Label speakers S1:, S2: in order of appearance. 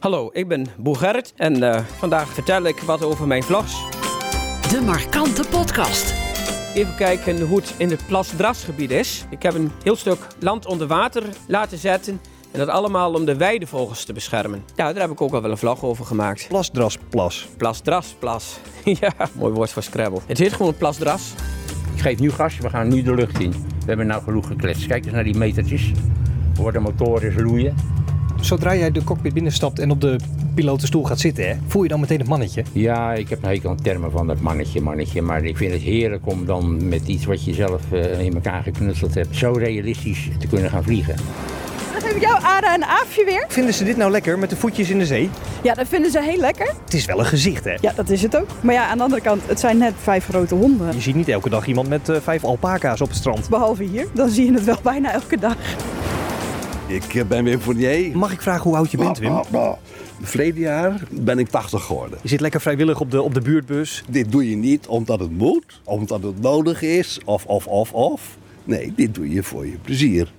S1: Hallo, ik ben Boer Gerrit en eh, vandaag vertel ik wat over mijn vlas.
S2: De Markante Podcast.
S1: Even kijken hoe het in het plasdrasgebied is. Ik heb een heel stuk land onder water laten zetten. En dat allemaal om de weidevogels te beschermen. Ja, daar heb ik ook al wel een vlag over gemaakt.
S3: Plasdrasplas.
S1: Plasdrasplas. ja, mooi woord voor Scrabble. Het heet gewoon plasdras.
S4: Ik geef nu gas, we gaan nu de lucht in. We hebben nou genoeg gekletst. Kijk eens naar die metertjes. Hoor de motoren loeien.
S3: Zodra jij de cockpit binnenstapt en op de pilotenstoel gaat zitten, hè, voel je dan meteen het mannetje.
S4: Ja, ik heb een hekel aan termen van dat mannetje, mannetje. Maar ik vind het heerlijk om dan met iets wat je zelf eh, in elkaar geknutseld hebt... zo realistisch te kunnen gaan vliegen.
S5: Dan geef ik jou, Ada, een aapje weer.
S3: Vinden ze dit nou lekker met de voetjes in de zee?
S5: Ja, dat vinden ze heel lekker.
S3: Het is wel een gezicht, hè?
S5: Ja, dat is het ook. Maar ja, aan de andere kant, het zijn net vijf grote honden.
S3: Je ziet niet elke dag iemand met eh, vijf alpaca's op het strand.
S5: Behalve hier, dan zie je het wel bijna elke dag.
S6: Ik eh, ben Wim Fournier.
S3: Mag ik vragen hoe oud je bent, Wim?
S6: Bah, bah. Verleden jaar ben ik 80 geworden.
S3: Je zit lekker vrijwillig op de, op de buurtbus.
S6: Dit doe je niet omdat het moet, omdat het nodig is, of, of, of, of. Nee, dit doe je voor je plezier.